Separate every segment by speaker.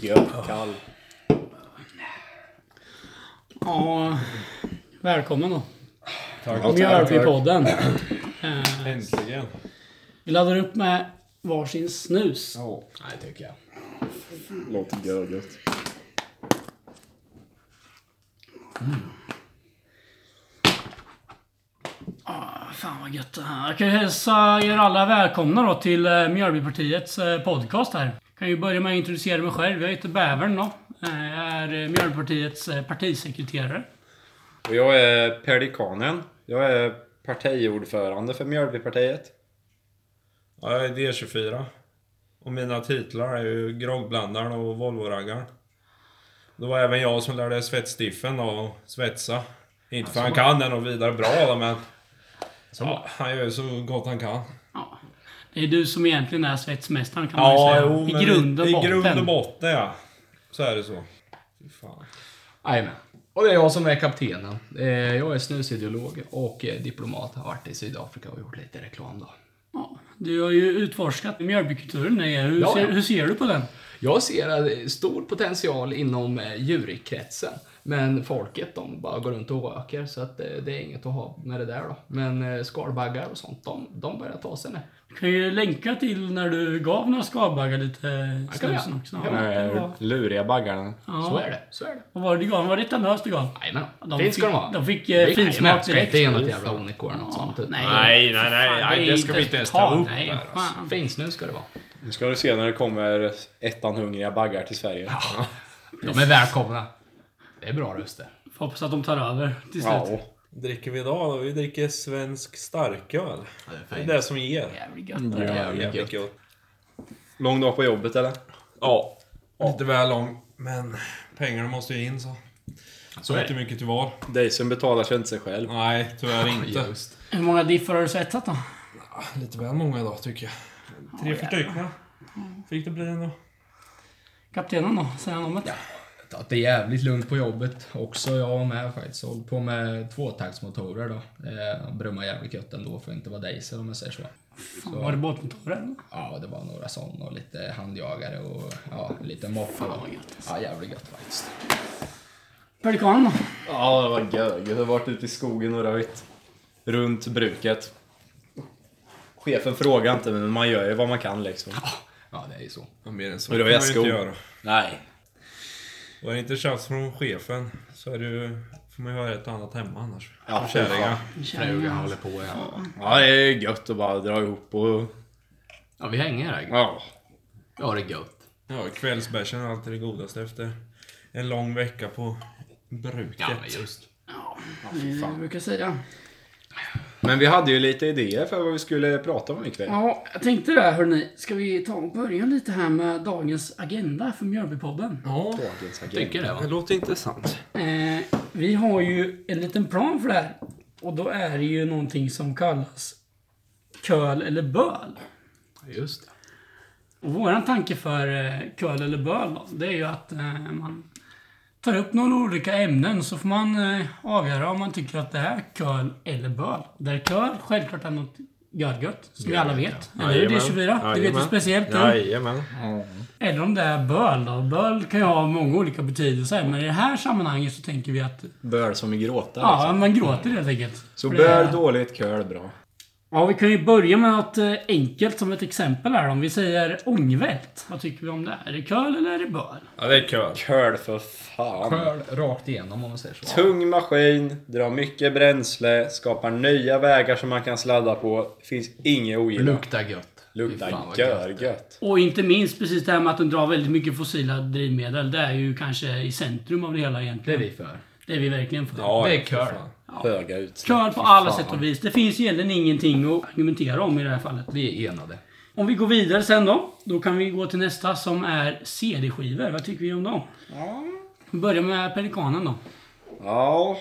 Speaker 1: Mjölk, kall.
Speaker 2: Ja, välkommen då.
Speaker 3: Tack.
Speaker 1: Ja,
Speaker 2: Mjölbypodden. Eh,
Speaker 3: Äntligen.
Speaker 2: Vi laddar upp med varsin snus.
Speaker 3: Ja.
Speaker 2: Nej, tycker jag.
Speaker 1: Låter görgött.
Speaker 2: Fan vad gött det här. Jag kan ju hälsa er alla välkomna då till eh, Mjölbypartiets eh, podcast här. Jag kan ju börja med att introducera mig själv. Jag heter Bävern då. Eh, Jag är eh, Mjölbypartiets eh, partisekreterare.
Speaker 3: Och jag är Pelikanen. Jag är partiordförande för Mjölbypartiet.
Speaker 4: Ja, jag är D24. Och mina titlar är ju groggblandaren och Volvoraggaren. Det var även jag som lärde svetsstiffen och svetsa. Inte för han kan det något vidare bra då, men... Ja, han gör ju så gott han kan.
Speaker 2: Ja. Det är du som egentligen är svetsmästaren kan man ju
Speaker 4: Ja,
Speaker 2: säga.
Speaker 4: jo, men
Speaker 2: I grund och
Speaker 4: I
Speaker 2: botten.
Speaker 4: grund och botten, ja. Så är det så. Fy fan.
Speaker 5: Jajamän. Och det är jag som är kaptenen. Eh, Jag är snusideolog och eh, diplomat. Har varit i Sydafrika och gjort lite reklam då.
Speaker 2: Ja, du har ju utforskat mjölbykulturen. Neja. Hur,
Speaker 5: Ja, ja.
Speaker 2: ser, hur ser du på den?
Speaker 5: Jag ser eh, stor potential inom eh, jurykretsen. Men folket de bara går runt och röker så att eh, det är inget att ha med det där då. Men eh, skalbaggar och sånt, de, de börjar ta sig med.
Speaker 2: Jag kan ju länka till när du gav några skalbaggar lite eh,
Speaker 5: vi
Speaker 2: snusen
Speaker 5: göra.
Speaker 2: också.
Speaker 5: Ja.
Speaker 2: Ja.
Speaker 4: Eh,
Speaker 3: Ja. Luriga baggarna.
Speaker 2: Ja.
Speaker 5: Så är det. Så är det.
Speaker 2: Vad var det du gav? Var det tandlöst du gav?
Speaker 5: Jajamän.
Speaker 2: De
Speaker 5: Fint ska
Speaker 2: fick-
Speaker 5: de ha.
Speaker 2: de fick, eh, fin
Speaker 5: Jajamän,
Speaker 2: smak
Speaker 5: ska
Speaker 2: direkt.
Speaker 5: Inte ge något jävla unicorn och sånt. utan-
Speaker 4: Nej, nej, nej,
Speaker 2: Fan,
Speaker 4: nej,
Speaker 2: är
Speaker 4: det ska vi inte ens ta
Speaker 2: tal.
Speaker 4: upp
Speaker 2: Nej,
Speaker 4: där,
Speaker 2: fan.
Speaker 5: Finsnus alltså. ska det vara.
Speaker 3: Nu ska du se när det kommer ettan hungriga baggar till Sverige.
Speaker 5: De är välkomna. Det är bra röster.
Speaker 2: Får hoppas att de tar över till slut.
Speaker 3: Ja.
Speaker 4: Dricker vi idag då? Vi dricker svensk starköl.
Speaker 5: Det
Speaker 4: Det är det som ger.
Speaker 2: Jävligt gött.
Speaker 5: Mm.
Speaker 2: det där.
Speaker 5: Jävligt
Speaker 4: Jävligt
Speaker 5: gött.
Speaker 4: gott.
Speaker 3: Lång dag på jobbet eller?
Speaker 4: Ja. Lite väl lång, men pengarna måste ju in så. Så inte mycket till val.
Speaker 3: Dejsen betalar sig inte sig själv.
Speaker 4: Nej, tyvärr inte.
Speaker 5: Just.
Speaker 2: Hur många diffar har du svetsat då?
Speaker 4: Lite väl många idag tycker jag. Tre förstyckna. Fick det bli ändå.
Speaker 2: Kaptenen då? Säger han om det?
Speaker 5: tagit det jävligt lugnt på jobbet också. Jag var med faktiskt. Hållit på med tvåtaktsmotorer då. Eh, brummar jävligt gött ändå för att inte vara diesel om jag säger så.
Speaker 2: Fan, var det båtmotorer eller?
Speaker 5: Ja, det var några sådana och lite handjagare och ja, lite moppa då. Ja, jävligt gött faktiskt.
Speaker 2: Pelikanen då?
Speaker 3: Ja, det var gög. Jag har varit ute i skogen och röjt. Runt bruket. Chefen frågar inte, men man gör ju vad man kan liksom.
Speaker 5: Ja, det är ju så.
Speaker 4: Mer än så
Speaker 3: Och då är
Speaker 4: kan
Speaker 3: jag
Speaker 4: man ju
Speaker 3: skog.
Speaker 4: inte göra.
Speaker 3: Nej.
Speaker 4: Var det inte tjafs från chefen så är det ju, får man ju ha ett annat hemma annars.
Speaker 3: Ja,
Speaker 4: Ja, kärringar.
Speaker 5: Frugan håller på ja.
Speaker 3: Ja, det är gött att bara dra ihop och...
Speaker 5: Ja, vi hänger här.
Speaker 3: Ja.
Speaker 5: Ja, det är gött.
Speaker 4: Ja, kvällsbärsen är alltid det godaste efter en lång vecka på bruket.
Speaker 5: Ja, men just.
Speaker 2: Det är det vi brukar säga.
Speaker 3: Men vi hade ju lite idéer för vad vi skulle prata om ikväll.
Speaker 2: Ja, jag tänkte det här hörni. Ska vi ta och börja lite här med dagens agenda för Mjölbypodden?
Speaker 4: Ja,
Speaker 3: Dagens agenda.
Speaker 5: Tycker det va?
Speaker 4: det låter intressant.
Speaker 2: Eh, vi har ju en liten plan för det här. Och då är det ju någonting som kallas köl eller böl.
Speaker 5: Just det.
Speaker 2: Och våran tanke för eh, köl eller böl då, det är ju att eh, man tar upp några olika ämnen så får man eh, avgöra om man tycker att det är köl eller böl. Där köl självklart är något görgött, som vi alla vet. Eller hur? Det är 24. Det vet vi speciellt du.
Speaker 4: Jajamän.
Speaker 2: Eller om det är böl då. Böl kan ju ha många olika betydelser, men i det här sammanhanget så tänker vi att
Speaker 3: Böl som i gråta liksom.
Speaker 2: ja, man gråter helt enkelt.
Speaker 3: Så
Speaker 2: För det är-
Speaker 3: böl dåligt, köl bra.
Speaker 2: Ja, vi kan ju börja med något eh, enkelt som ett exempel här. Om vi säger ångvält. Vad tycker vi om det? Är det köl eller är det böl?
Speaker 4: Ja, det är kul.
Speaker 3: Köl för fan.
Speaker 5: Skörd rakt igenom om man säger så.
Speaker 3: Tung maskin, drar mycket bränsle, skapar nya vägar som man kan sladda på. Finns inget ogillar.
Speaker 5: Luktar gött. Fy fan,
Speaker 3: Luktar
Speaker 5: vad
Speaker 3: görgött.
Speaker 2: Och inte minst precis det här med att den drar väldigt mycket fossila drivmedel. Det är ju kanske i centrum av det hela
Speaker 5: Det är
Speaker 2: egentligen.
Speaker 5: vi för.
Speaker 2: Det är vi verkligen för.
Speaker 4: Ja,
Speaker 5: Det
Speaker 4: ja,
Speaker 5: är
Speaker 4: för
Speaker 5: kör.
Speaker 4: fan.
Speaker 3: Höga utsläpp.
Speaker 2: Köl på alla sätt och vis. Det finns egentligen ingenting att argumentera om i det här fallet.
Speaker 5: Vi är enade.
Speaker 2: Om vi går vidare sen då. Då kan vi gå till nästa som är CD-skivor. Vad tycker vi om dem? Vi börjar med Pelikanen då.
Speaker 3: Ja.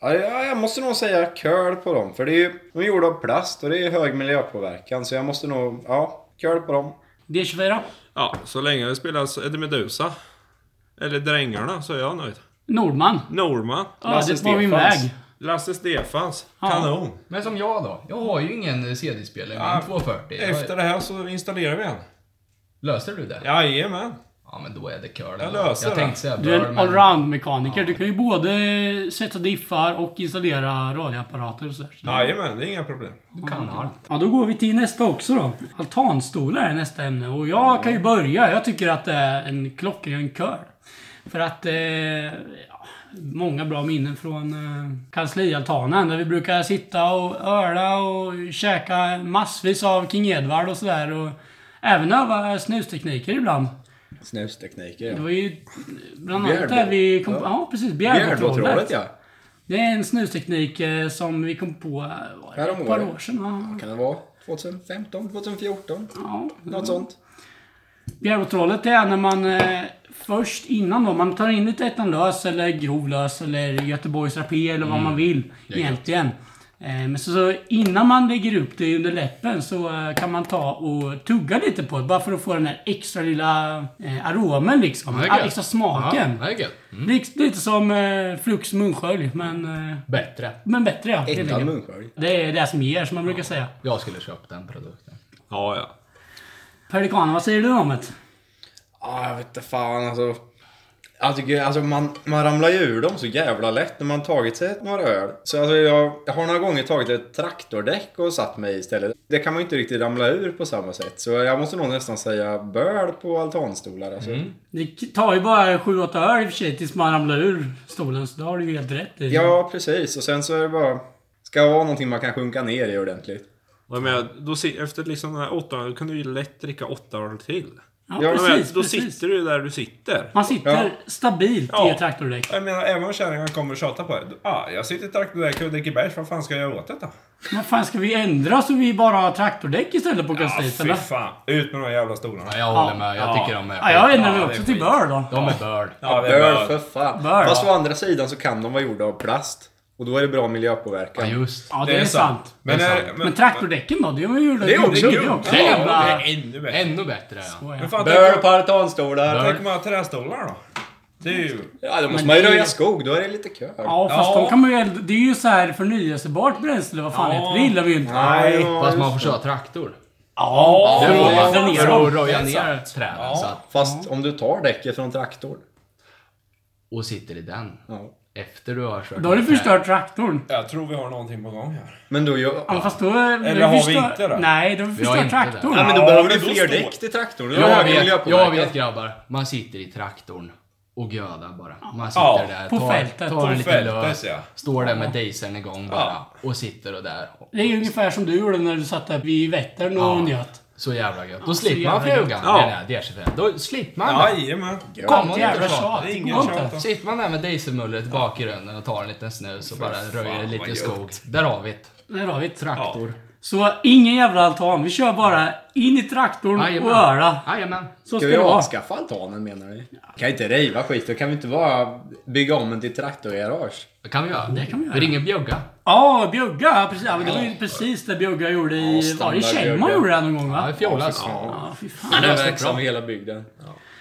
Speaker 3: Ja, jag jag måste nog säga köl på dem. För det är ju, de är gjorda av plast och det är hög miljöpåverkan. Så jag måste nog, ja, köl på dem.
Speaker 2: D24.
Speaker 4: Ja, så länge det spelas Eddie Meduza eller Drängarna så är jag nöjd.
Speaker 2: Nordman.
Speaker 4: Norman,
Speaker 2: Ja,
Speaker 3: Lasse
Speaker 2: det var min
Speaker 3: Stefans.
Speaker 2: väg.
Speaker 4: Lasse Stefans,
Speaker 2: Ja.
Speaker 4: kanon.
Speaker 5: Men som jag då. Jag har ju ingen CD-spelare, men
Speaker 4: Ja,
Speaker 5: 240. Jag-
Speaker 4: Efter det här så installerar vi en.
Speaker 5: Löser du det?
Speaker 2: Mm.
Speaker 4: Jajamän.
Speaker 5: Ja, men då är det curl.
Speaker 4: Jag löser
Speaker 5: Jag
Speaker 4: det.
Speaker 5: tänkte säga
Speaker 2: Du är
Speaker 5: bör,
Speaker 2: en
Speaker 5: men...
Speaker 2: allround-mekaniker. Du kan ju både sätta diffar och installera radioapparater och sådär.
Speaker 4: Jajamän, det är inga problem.
Speaker 5: Du kan allt.
Speaker 2: Ja, då går vi till nästa också då. Altanstolar är nästa ämne och jag kan ju börja. Jag tycker att det är en klockren kör. För att... Eh, ja, många bra minnen från eh, kanslialtanen där vi brukar sitta och öla och käka massvis av King Edward och sådär. Och även öva snustekniker ibland.
Speaker 3: Snustekniker
Speaker 2: Det
Speaker 3: ja.
Speaker 2: var ju bland annat
Speaker 3: Bjärbo.
Speaker 2: där vi kom på... Ja,
Speaker 3: Ja.
Speaker 2: precis.
Speaker 3: Bjärbotrådet
Speaker 2: Bjärbotrådet.
Speaker 3: ja.
Speaker 2: Det är en snusteknik eh, som vi kom på... eh, var det
Speaker 3: Häromåret.
Speaker 2: Ett par år sedan. va?
Speaker 3: Kan det vara 2015, 2014?
Speaker 2: Ja,
Speaker 3: Något sånt.
Speaker 2: Bjärrotrollet det är när man eh, först innan då, man tar in lite ettanlös eller grovlös eller Göteborgs rapé eller
Speaker 5: Mm.
Speaker 2: vad man vill egentligen. Eh, men så, så innan man lägger upp det under läppen så eh, kan man ta och tugga lite på det bara för att få den där extra lilla eh, aromen liksom.
Speaker 5: Det är
Speaker 2: Ah,
Speaker 5: gött.
Speaker 2: extra smaken.
Speaker 5: Ja, det är gött.
Speaker 2: Liks- Lite som eh, Flux munskölj men, eh,
Speaker 5: Bättre.
Speaker 2: men bättre ja. helt
Speaker 3: Äkta
Speaker 2: enkelt.
Speaker 3: munskölj.
Speaker 2: Det är det som ger som man brukar säga.
Speaker 5: Jag skulle köpa den produkten.
Speaker 4: Ja, ja.
Speaker 2: Pelikanen, vad säger du om det?
Speaker 3: Ja, jag vet inte fan alltså. Jag tycker, alltså man, man ramlar ju ur dem så jävla lätt när man tagit sig några öl. Så alltså jag, jag har några gånger tagit ett traktordäck och satt mig istället. Det kan man ju inte riktigt ramla ur på samma sätt. Så jag måste nog nästan säga böl på altanstolar alltså.
Speaker 2: Det tar ju bara 7-8 öl i och för sig tills man ramlar ur stolen, så det har du ju helt rätt i.
Speaker 3: Ja, precis. Och sen så är det bara... Ska vara någonting man kan sjunka ner i ordentligt.
Speaker 4: Och jag menar, då, si- efter liksom den här åtta då kan du ju lätt dricka åtta öl till.
Speaker 2: Ja,
Speaker 3: Ja,
Speaker 4: Jag
Speaker 2: precis,
Speaker 4: menar, då
Speaker 2: precis.
Speaker 4: sitter du där du sitter.
Speaker 2: Man sitter
Speaker 3: Ja.
Speaker 2: stabilt i
Speaker 4: Ja.
Speaker 2: ett traktordäck.
Speaker 4: Jag menar, även om kärringarna kommer och tjatar på dig. då- Ah, jag sitter i traktordäck och dricker bärs. Vad fan ska jag göra åt det då?
Speaker 2: Vad fan, ska vi ändra så vi bara har traktordäck istället på
Speaker 4: Ah,
Speaker 2: kansliet,
Speaker 4: fy
Speaker 2: eller?
Speaker 4: fan. Ut med de jävla stolarna.
Speaker 5: Ja, jag håller med. Jag tycker de är
Speaker 2: Ja, jag
Speaker 5: skit.
Speaker 2: ändrar mig
Speaker 5: det är
Speaker 2: också till
Speaker 5: skit.
Speaker 2: bör då.
Speaker 5: De är börd.
Speaker 4: Ja, det är
Speaker 3: Böl
Speaker 4: bra.
Speaker 3: för fan.
Speaker 2: Böl,
Speaker 3: Fast
Speaker 2: ja.
Speaker 3: å andra sidan så kan de vara gjorda av plast. Och då är det bra
Speaker 5: Ja,
Speaker 3: miljöpåverkan.
Speaker 5: just.
Speaker 2: Ja, det, är, sant.
Speaker 4: Men,
Speaker 5: Det är
Speaker 4: är,
Speaker 5: sant.
Speaker 2: Men traktordäcken då? Det var ju
Speaker 3: Det är också
Speaker 2: det
Speaker 3: kul.
Speaker 2: också
Speaker 4: Ja,
Speaker 2: jävla-
Speaker 4: det är ännu bättre.
Speaker 5: Ännu bättre, ja.
Speaker 2: Åh, ja.
Speaker 4: Men fan,
Speaker 3: Böl
Speaker 4: tänk
Speaker 3: på
Speaker 4: om-
Speaker 3: altanstolar.
Speaker 5: Böl.
Speaker 4: tänk om man har trästolar då? Det är ju...
Speaker 3: Ja, då måste
Speaker 2: Men
Speaker 3: man ju
Speaker 2: det är-
Speaker 3: röja skog. Då är det lite kö.
Speaker 2: Ja, fast
Speaker 4: Ja.
Speaker 2: de kan man ju elda- Det är ju så här förnyelsebart bränsle, vad fan
Speaker 4: Ja.
Speaker 2: heter det? Det gillar vi ju inte.
Speaker 3: Nej,
Speaker 5: Fast man får köra traktor.
Speaker 2: Ja,
Speaker 5: För
Speaker 2: för att elda
Speaker 5: att-
Speaker 2: ner
Speaker 5: för
Speaker 2: dem.
Speaker 5: att röja ner träden så att,
Speaker 3: Fast om du tar däcket från traktorn.
Speaker 5: och sitter i den.
Speaker 3: Ja.
Speaker 5: Efter du har kört
Speaker 2: Då har du
Speaker 5: ner träden.
Speaker 2: förstört traktorn.
Speaker 4: Jag tror vi har någonting på gång här.
Speaker 3: Men då gör...
Speaker 2: Ja, fast då... Eller
Speaker 4: har vi inte det?
Speaker 2: Nej, då
Speaker 5: har
Speaker 2: förstör
Speaker 5: inte det.
Speaker 2: traktorn.
Speaker 3: Nej, men då
Speaker 4: Ja,
Speaker 3: behöver
Speaker 4: men
Speaker 3: du
Speaker 4: då
Speaker 3: fler
Speaker 4: står-
Speaker 3: däck till traktorn. Då är det
Speaker 5: Jag
Speaker 3: högre
Speaker 5: vet, jag
Speaker 3: miljöpåverkan.
Speaker 5: vet grabbar. Man sitter i traktorn och gödar bara. Man sitter
Speaker 4: Ja,
Speaker 5: där,
Speaker 2: på
Speaker 5: tar,
Speaker 2: fältet.
Speaker 5: tar
Speaker 4: På
Speaker 5: lite
Speaker 4: fältet,
Speaker 5: lös,
Speaker 4: ja.
Speaker 5: står där med dieseln igång bara och sitter och där.
Speaker 2: Det är ju ungefär som du gjorde när du satt där vid Vättern och
Speaker 5: Ja.
Speaker 2: njöt.
Speaker 5: Så jävla gött. Då
Speaker 2: så
Speaker 5: slipper man
Speaker 2: jävla
Speaker 5: flugan
Speaker 4: Ja.
Speaker 5: med den här DC5. Då slipper man den.
Speaker 4: Jajamän.
Speaker 5: Kom
Speaker 2: Ett
Speaker 5: och
Speaker 2: jävla
Speaker 5: inte
Speaker 2: tjat.
Speaker 5: tjat.
Speaker 4: Det är
Speaker 2: Det
Speaker 4: ingen
Speaker 2: går
Speaker 4: tjat.
Speaker 2: inte.
Speaker 5: Sitter man där med dieselmullret bak i rönnen och tar en liten snus och bara röjer
Speaker 4: vad
Speaker 5: lite
Speaker 4: gött.
Speaker 5: skog. Där har vi det.
Speaker 2: Där har vi ett trakt.
Speaker 4: Ja.
Speaker 2: Så ingen jävla altan. Vi kör bara in i traktorn
Speaker 5: Jajamän.
Speaker 2: och öra.
Speaker 5: Jajamän.
Speaker 2: Så
Speaker 3: Ska
Speaker 2: ska
Speaker 3: vi
Speaker 2: det vara.
Speaker 3: avskaffa altanen menar ni? Kan inte riva skit. Då kan vi inte bara bygga om den till traktorgarage.
Speaker 5: Det kan vi göra.
Speaker 2: Det kan vi göra.
Speaker 5: ringer Bjugga.
Speaker 2: Ja, Bjugga. Precis. Ja, men det var ju precis det Bjugga gjorde
Speaker 3: Ja,
Speaker 2: i... Var det i
Speaker 3: standard
Speaker 2: Källman
Speaker 3: Bjugga.
Speaker 2: gjorde det någon gång
Speaker 5: Ja,
Speaker 2: va?
Speaker 5: det fjollas.
Speaker 2: Ja, fy fan.
Speaker 5: Han
Speaker 3: Den är
Speaker 5: löser det
Speaker 3: verksam i
Speaker 5: bra.
Speaker 3: liksom hela bygden.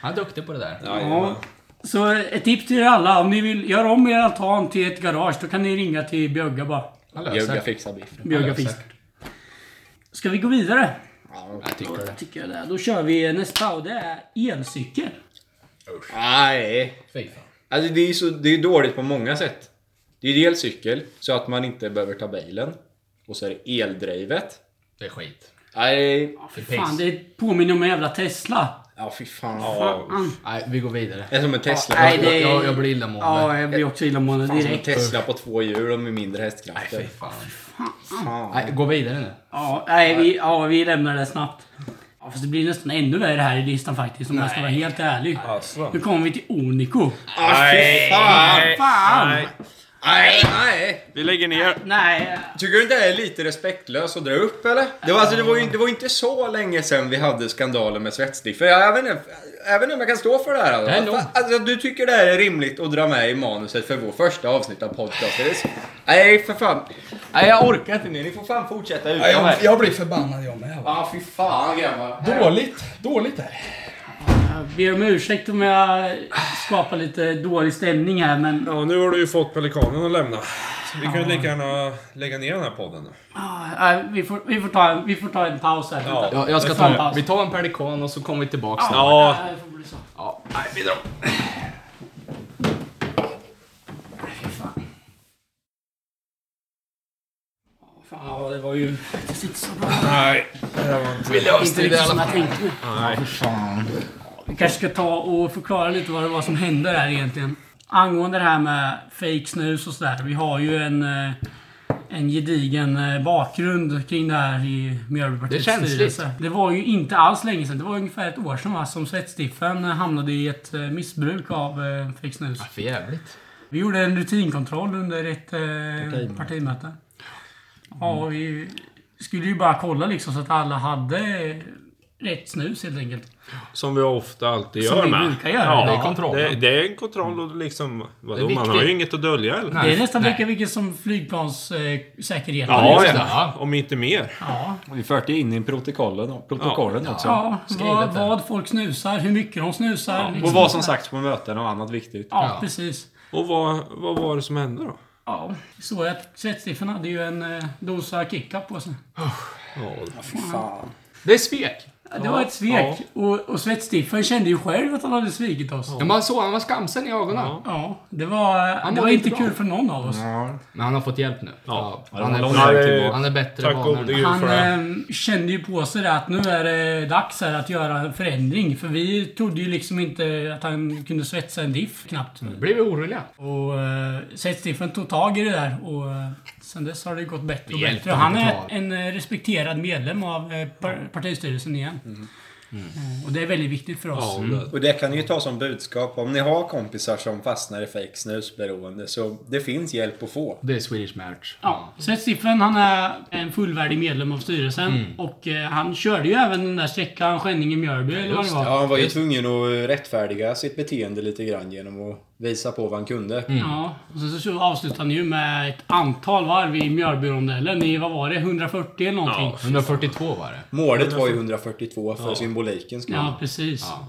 Speaker 5: Han är duktig på det där.
Speaker 2: Ja. Så ett tips till er alla. Om ni vill göra om er altan till ett garage, då kan ni ringa till Bjugga bara.
Speaker 5: Han löser
Speaker 3: Jugga
Speaker 5: det.
Speaker 3: fixar biffen.
Speaker 2: Bjugga
Speaker 5: Ja,
Speaker 2: fisk.
Speaker 5: säkert.
Speaker 2: Ska vi gå vidare?
Speaker 5: Jag tycker det.
Speaker 2: Tycker jag det. Då kör vi nästa och det är elcykel.
Speaker 3: Nej.
Speaker 5: Fy fan.
Speaker 3: Alltså det är ju så, det är dåligt på många sätt. Det är dels cykel, så att man inte behöver ta bilen. Och så är det eldrivet.
Speaker 5: Det är skit.
Speaker 3: Nej.
Speaker 5: Det är
Speaker 2: Fan,
Speaker 5: piss.
Speaker 2: det påminner om en jävla Tesla.
Speaker 3: Ja, fy fan.
Speaker 4: Ja.
Speaker 5: Nej, vi går vidare.
Speaker 3: Det är som en Tesla.
Speaker 2: nej, det-
Speaker 5: Jag, jag blir
Speaker 2: Ja,
Speaker 5: illamående.
Speaker 2: jag blir också illamående
Speaker 3: Fan, som en
Speaker 2: direkt.
Speaker 3: Tesla på två hjul och med mindre
Speaker 5: Nej,
Speaker 3: hästkrafter.
Speaker 5: fy fan.
Speaker 3: Fan.
Speaker 5: Nej, gå vidare nu.
Speaker 2: Ja, nej, vi, ja, vi lämnar det snabbt. Ja, fast det blir nästan ännu värre här i listan faktiskt om jag ska vara helt ärlig.
Speaker 4: Alltså.
Speaker 2: Nu kommer vi till Onico.
Speaker 3: Ah, fy fan!
Speaker 2: Fan! Nej.
Speaker 3: Nej, nej!
Speaker 4: Vi lägger ner.
Speaker 3: Tycker du inte det är lite respektlöst att dra upp eller? Det var, alltså, det var, ju, det var ju inte så länge sedan vi hade skandalen med svetsdiffar. Jag jag vet inte- jag vet inte om jag kan stå för det här.
Speaker 5: Nej,
Speaker 3: Alltså.
Speaker 5: nog.
Speaker 3: Fan, Alltså, du tycker det här är rimligt att dra med i manuset för vår första avsnitt av podcasten? Det är så- Nej, för fan. Nej, jag orkar inte mer. Ni får fan fortsätta utan mig.
Speaker 6: Jag, jag blir förbannad jag med. va.
Speaker 3: Ja, fy fan grabbar.
Speaker 6: Dåligt. Dåligt här.
Speaker 2: Jag ber om ursäkt om jag skapar lite dålig stämning här men...
Speaker 4: Ja, nu har du ju fått pelikanen att lämna. Så vi kan ju lika gärna lägga ner den här podden nu.
Speaker 2: Ah, nej, vi, får, vi, får ta en, vi får ta en paus här.
Speaker 4: Ja.
Speaker 5: Jag, jag ska
Speaker 4: Det
Speaker 5: ta
Speaker 4: får
Speaker 2: jag.
Speaker 5: en, vi tar en pelikan och så kommer vi tillbaks snart.
Speaker 4: Ja.
Speaker 2: Ja, det får bli så.
Speaker 5: Ja. nej, vi drar.
Speaker 2: Fan, ja, det var ju faktiskt inte så bra.
Speaker 4: Nej, det där var inte...
Speaker 5: Vi löste
Speaker 2: Inte
Speaker 5: det i
Speaker 2: riktigt
Speaker 5: alla
Speaker 2: som
Speaker 5: fall.
Speaker 2: jag tänkte mig.
Speaker 4: Nej, för fan.
Speaker 2: Vi kanske ska ta och förklara lite vad det var som hände där egentligen. Angående det här med fake snus och sådär. Vi har ju en, eh, en gedigen eh, bakgrund kring det här i Mjölbypartiets
Speaker 5: Det är känsligt.
Speaker 2: styrelse. Det var ju inte alls länge sedan. Det var ungefär ett år sedan va, som Svettstiffen eh, hamnade i ett eh, missbruk av eh, fake snus.
Speaker 5: För jävligt.
Speaker 2: Vi gjorde en rutinkontroll under ett eh, partimöte. Ja, och vi skulle ju bara kolla liksom så att alla hade eh, rätt snus helt enkelt.
Speaker 4: Som vi ofta alltid
Speaker 2: Som
Speaker 4: gör
Speaker 2: vi
Speaker 4: med.
Speaker 2: brukar göra.
Speaker 4: Ja,
Speaker 5: Det är kontrollen.
Speaker 4: Det, det är en kontroll och liksom... Vadå, man
Speaker 5: viktigt.
Speaker 4: har ju inget att dölja eller?
Speaker 5: Nej.
Speaker 2: Det är nästan
Speaker 5: Nej.
Speaker 2: lika mycket som flygplanssäkerhet.
Speaker 4: Ja,
Speaker 5: just det,
Speaker 4: ja.
Speaker 5: ja.
Speaker 4: Om inte mer.
Speaker 2: ja.
Speaker 1: Vi förde in i protokollen, protokollen också.
Speaker 2: ja vad,
Speaker 5: Skrivet där.
Speaker 2: vad folk snusar, hur mycket de snusar. liksom.
Speaker 1: Och vad som sagt på möten och annat viktigt.
Speaker 2: Ja,
Speaker 5: Ja.
Speaker 2: precis.
Speaker 4: Och vad, vad var det som hände då?
Speaker 2: Ja, så att Svettstiffen hade ju en eh, dosa kick-up på sig.
Speaker 5: Det är svek.
Speaker 2: Det var ett svek. Och, och Svettstiffen kände ju själv att han hade svikit oss.
Speaker 5: Ja, man såg han var skamsen i ögonen.
Speaker 2: Ja, det var, det var
Speaker 5: mådde
Speaker 2: inte
Speaker 5: bra.
Speaker 2: kul för någon av oss.
Speaker 5: Men han har fått hjälp nu. Ja.
Speaker 1: det
Speaker 5: Han,
Speaker 1: var lång
Speaker 5: är,
Speaker 1: väg
Speaker 4: tillbaka.
Speaker 5: han är bättre
Speaker 4: Tack
Speaker 5: banor
Speaker 4: gode
Speaker 5: nu.
Speaker 4: gud för
Speaker 2: Han
Speaker 3: eh,
Speaker 4: det.
Speaker 2: ehm, kände ju på sig det att nu är det dags här att göra en förändring. För vi trodde ju liksom inte att han kunde svetsa en diff knappt.
Speaker 5: Blev vi oroliga.
Speaker 2: Och eh, Seth Stiffen tog tag i det där och eh, sen dess har det gått bättre och
Speaker 5: Det hjälpte
Speaker 2: bättre. Och han
Speaker 5: honom
Speaker 2: är
Speaker 5: att ta.
Speaker 2: en eh, respekterad medlem av eh, par- partistyrelsen igen. Eh, Och det är väldigt viktigt för oss.
Speaker 3: Och det kan ni ju ta som budskap. Om ni har kompisar som fastnar i fake snusberoende så det finns hjälp att få.
Speaker 5: Det är Swedish Match.
Speaker 2: Ja, Seth Stiffen han är en fullvärdig medlem av styrelsen och eh, han körde ju även den där sträckan Skänninge-Mjölby eller vad det
Speaker 5: just
Speaker 2: var.
Speaker 3: Ja, han var ju tvungen att rättfärdiga sitt beteende lite grann genom att visa på vad han kunde.
Speaker 5: Mm.
Speaker 2: Ja, och sen så avslutade han ju med ett antal varv i Mjölbyrondellen i, vad var det, 140 eller någonting? Ja,
Speaker 5: 142 var det.
Speaker 3: Målet var ju 142 för symboliken skull.
Speaker 2: precis. Ja,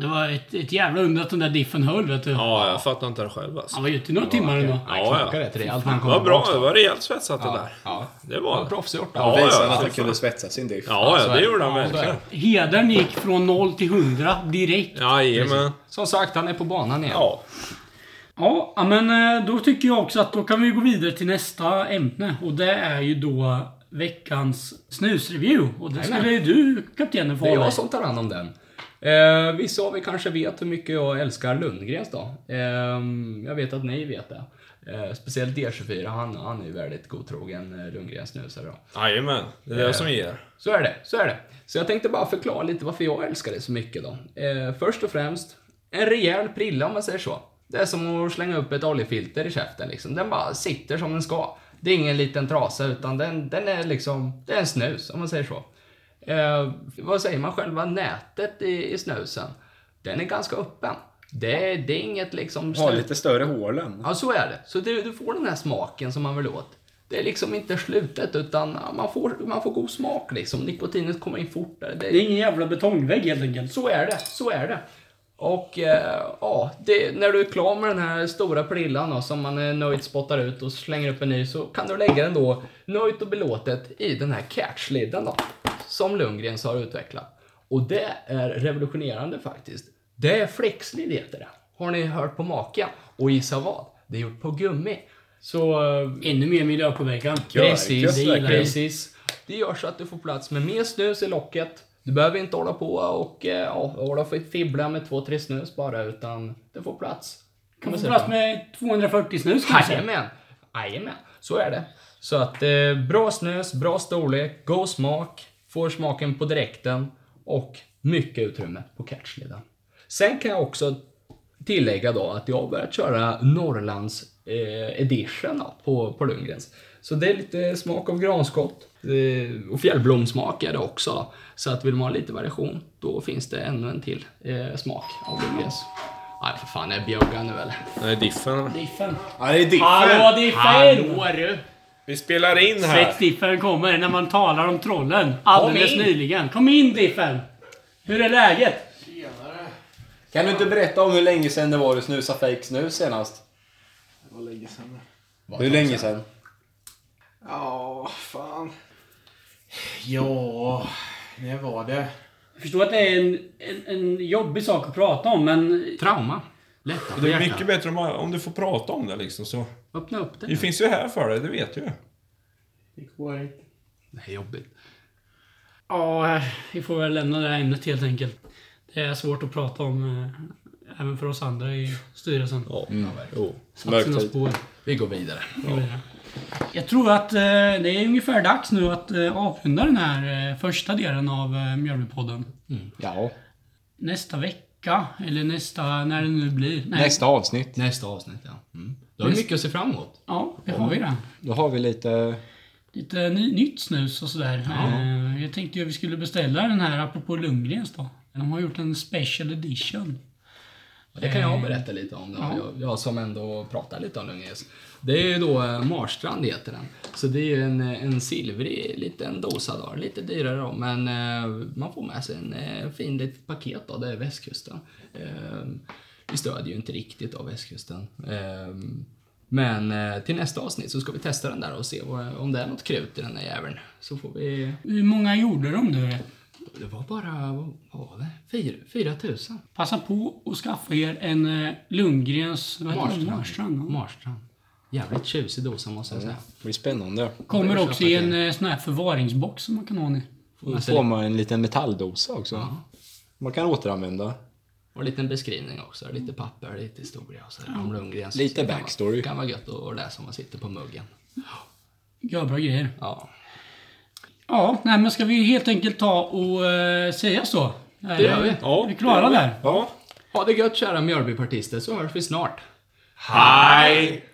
Speaker 2: det var ett, ett jävla under att den där diffen höll vet du.
Speaker 4: Ja, jag fattar inte det själv alltså.
Speaker 2: Han var ute i några timmar ändå.
Speaker 5: Han
Speaker 4: Ja,
Speaker 5: knackade rätt rejält när han kom
Speaker 4: Vad bra.
Speaker 5: tillbaka.
Speaker 4: Det var rejält svetsat det där.
Speaker 5: Ja.
Speaker 4: Det var det.
Speaker 5: Proffsgjort.
Speaker 4: Ja,
Speaker 3: Visade
Speaker 4: ja,
Speaker 3: han att
Speaker 4: för
Speaker 3: han
Speaker 4: fan.
Speaker 3: kunde svetsa sin diff.
Speaker 4: Ja,
Speaker 5: så
Speaker 4: ja,
Speaker 5: är
Speaker 4: det
Speaker 5: det.
Speaker 4: gjorde han
Speaker 5: Ja, så är
Speaker 4: verkligen.
Speaker 2: Hedern gick från 0 till 100 direkt.
Speaker 4: Jajamän.
Speaker 5: Som sagt, han är på banan igen.
Speaker 4: Ja.
Speaker 2: Ja, ja, men eh, då tycker jag också att då kan vi gå vidare till nästa ämne och det är ju då veckans snusreview. Och det skulle ju du, kaptenen, få
Speaker 5: Det är
Speaker 2: hålla i.
Speaker 5: jag som tar hand om den. Eh, vissa av er kanske vet hur mycket jag älskar Lundgrens då. Eh, jag vet att ni vet det. Eh, speciellt D24, han, han är ju väldigt godtrogen eh, Lundgrens snusare då.
Speaker 4: Jajamän. Det är det som ger.
Speaker 5: Så är det, så är det. Så jag tänkte bara förklara lite varför jag älskar det så mycket då. Eh, först och främst, en rejäl prilla om man säger så. Det är som att slänga upp ett oljefilter i käften liksom. Den bara sitter som den ska. Det är ingen liten trasa utan den, den är liksom, det är en snus om man säger så. Eh, vad säger man, själva nätet i, i snusen, den är ganska öppen. Det, det är inget liksom...
Speaker 3: Ha
Speaker 5: snus-
Speaker 3: lite större hålen.
Speaker 5: Ja, så är det. Så du, du får den här smaken som man vill åt. Det är liksom inte slutet, utan ja, man får, man får god smak liksom. Nikotinet kommer in fortare.
Speaker 2: Det är
Speaker 5: Det,
Speaker 2: ingen jävla betongvägg helt enkelt.
Speaker 5: så är det, så är det. Och eh, ja, det, när du är klar med den här stora prillan då, som man är nöjd spottar ut och slänger upp en ny så kan du lägga den då nöjt och belåtet i den här catchlidden då. Som Lundgrens har utvecklat. Och det är revolutionerande faktiskt. Det är flexlid heter det. Har ni hört på maken? Och gissa vad? Det är gjort på gummi. Så eh,
Speaker 2: Ännu mer miljöpåverkan.
Speaker 5: Precis,
Speaker 3: Gött,
Speaker 5: det
Speaker 3: gött,
Speaker 5: gillar jag.
Speaker 3: verkligen.
Speaker 5: precis. Det gör så att du får plats med mer snus i locket. Du behöver inte hålla på och eh, ja, hålla och fibbla med två, tre snus bara, utan du får plats.
Speaker 2: Kan man få plats med 240 snus kanske?
Speaker 5: Jajamän! Jajamän, så är det. Så att eh, bra snus, bra storlek, god smak, får smaken på direkten och mycket utrymme på catchleden. Sen kan jag också tillägga då att jag har börjat köra Norrlands eh, edition då, på, på Lundgrens. Så det är lite smak av granskott eh, och fjällblomsmak är det också. Då. Så att vill man ha lite variation, då finns det ännu en till eh, smak av Lundgrens. Nej, för fan, är Björgan nu eller?
Speaker 4: Nej, diffen.
Speaker 2: Diffen.
Speaker 3: Ja, det är diffen.
Speaker 2: Hallå Diffen!
Speaker 5: du!
Speaker 4: Vi spelar in här.
Speaker 2: Svett Diffen kommer när man talar om trollen. Alldeles
Speaker 5: in.
Speaker 2: nyligen. Kom in Diffen! Hur är läget?
Speaker 3: Kan du inte berätta om hur länge sedan det var du snusade fake snus senast?
Speaker 7: Det var länge sedan.
Speaker 3: Hur länge sedan?
Speaker 7: Ja, fan. Ja, när var det?
Speaker 2: Jag förstår att det är en, en, en jobbig sak att prata om, men...
Speaker 5: Trauma. Lätta på
Speaker 4: Det är mycket
Speaker 5: hjärtat.
Speaker 4: bättre om, om du får prata om det liksom. Så.
Speaker 5: Öppna upp det.
Speaker 4: Vi finns ju här för dig, det vet du ju.
Speaker 7: Det går inte.
Speaker 5: Det är jobbigt.
Speaker 2: Ja, vi får väl lämna det här ämnet helt enkelt. Det är svårt att prata om, eh, även för oss andra i styrelsen.
Speaker 5: Ja,
Speaker 1: Mm.
Speaker 3: Jo.
Speaker 5: Satt sina spår. Vi går vidare.
Speaker 2: Jag tror att eh, det är ungefär dags nu att eh, avrunda den här eh, första delen av eh, Mjölbypodden.
Speaker 3: Ja.
Speaker 2: Nästa vecka, eller nästa, när det nu blir. Nej,
Speaker 1: Nästa avsnitt.
Speaker 5: Nästa avsnitt, ja. Mm. Då har vi mycket att se fram emot.
Speaker 2: Ja, det har vi det.
Speaker 1: Då har vi lite...
Speaker 2: Lite ny, nytt snus och sådär. Eh, Jag tänkte ju att vi skulle beställa den här, apropå Lundgrens då. De har gjort en special edition.
Speaker 5: Och Det kan jag berätta lite om. Då. Jag, jag som ändå pratar lite om Lundgrens. Det är ju då eh, Marstrand heter den. Så det är ju en, eh, en silvrig liten dosa då. Lite dyrare då, men eh, man får med sig en eh, fin litet paket då. Det är västkusten. Eh, vi stödjer ju inte riktigt då västkusten. Eh, men eh, till nästa avsnitt så ska vi testa den där och se vad, om det är något krut i den där jäveln. Så får vi...
Speaker 2: Hur många gjorde de nu?
Speaker 5: Det var bara, vad vad var det? Fyra, fyra tusen.
Speaker 2: Passa på och skaffa er en eh, Lundgrens vad heter den?
Speaker 5: Marstrand.
Speaker 2: Marstrand. ja.
Speaker 5: Marstrand. Jävligt tjusig dosa måste jag säga.
Speaker 1: Det blir spännande.
Speaker 2: Kommer
Speaker 5: Börja
Speaker 2: också
Speaker 5: köpa
Speaker 2: i en eh, sån här förvaringsbox som man kan ha nu.
Speaker 5: Mm.
Speaker 1: Då får man en liten metalldosa också. Man kan återanvända.
Speaker 5: Och en liten beskrivning också. Lite papper, lite historia och sådär. Om Lundgrens.
Speaker 1: Lite
Speaker 5: Det kan vara-
Speaker 1: backstory.
Speaker 5: kan vara gött att läsa om man sitter på muggen.
Speaker 2: Görbra grejer.
Speaker 5: Ja.
Speaker 2: Ja, nej men ska vi helt enkelt ta och eh, säga så? Det
Speaker 5: gör vi.
Speaker 2: Ja, vi klarar där.
Speaker 5: Ha det gött kära Mjölbypartister så hörs vi snart.
Speaker 4: Hej!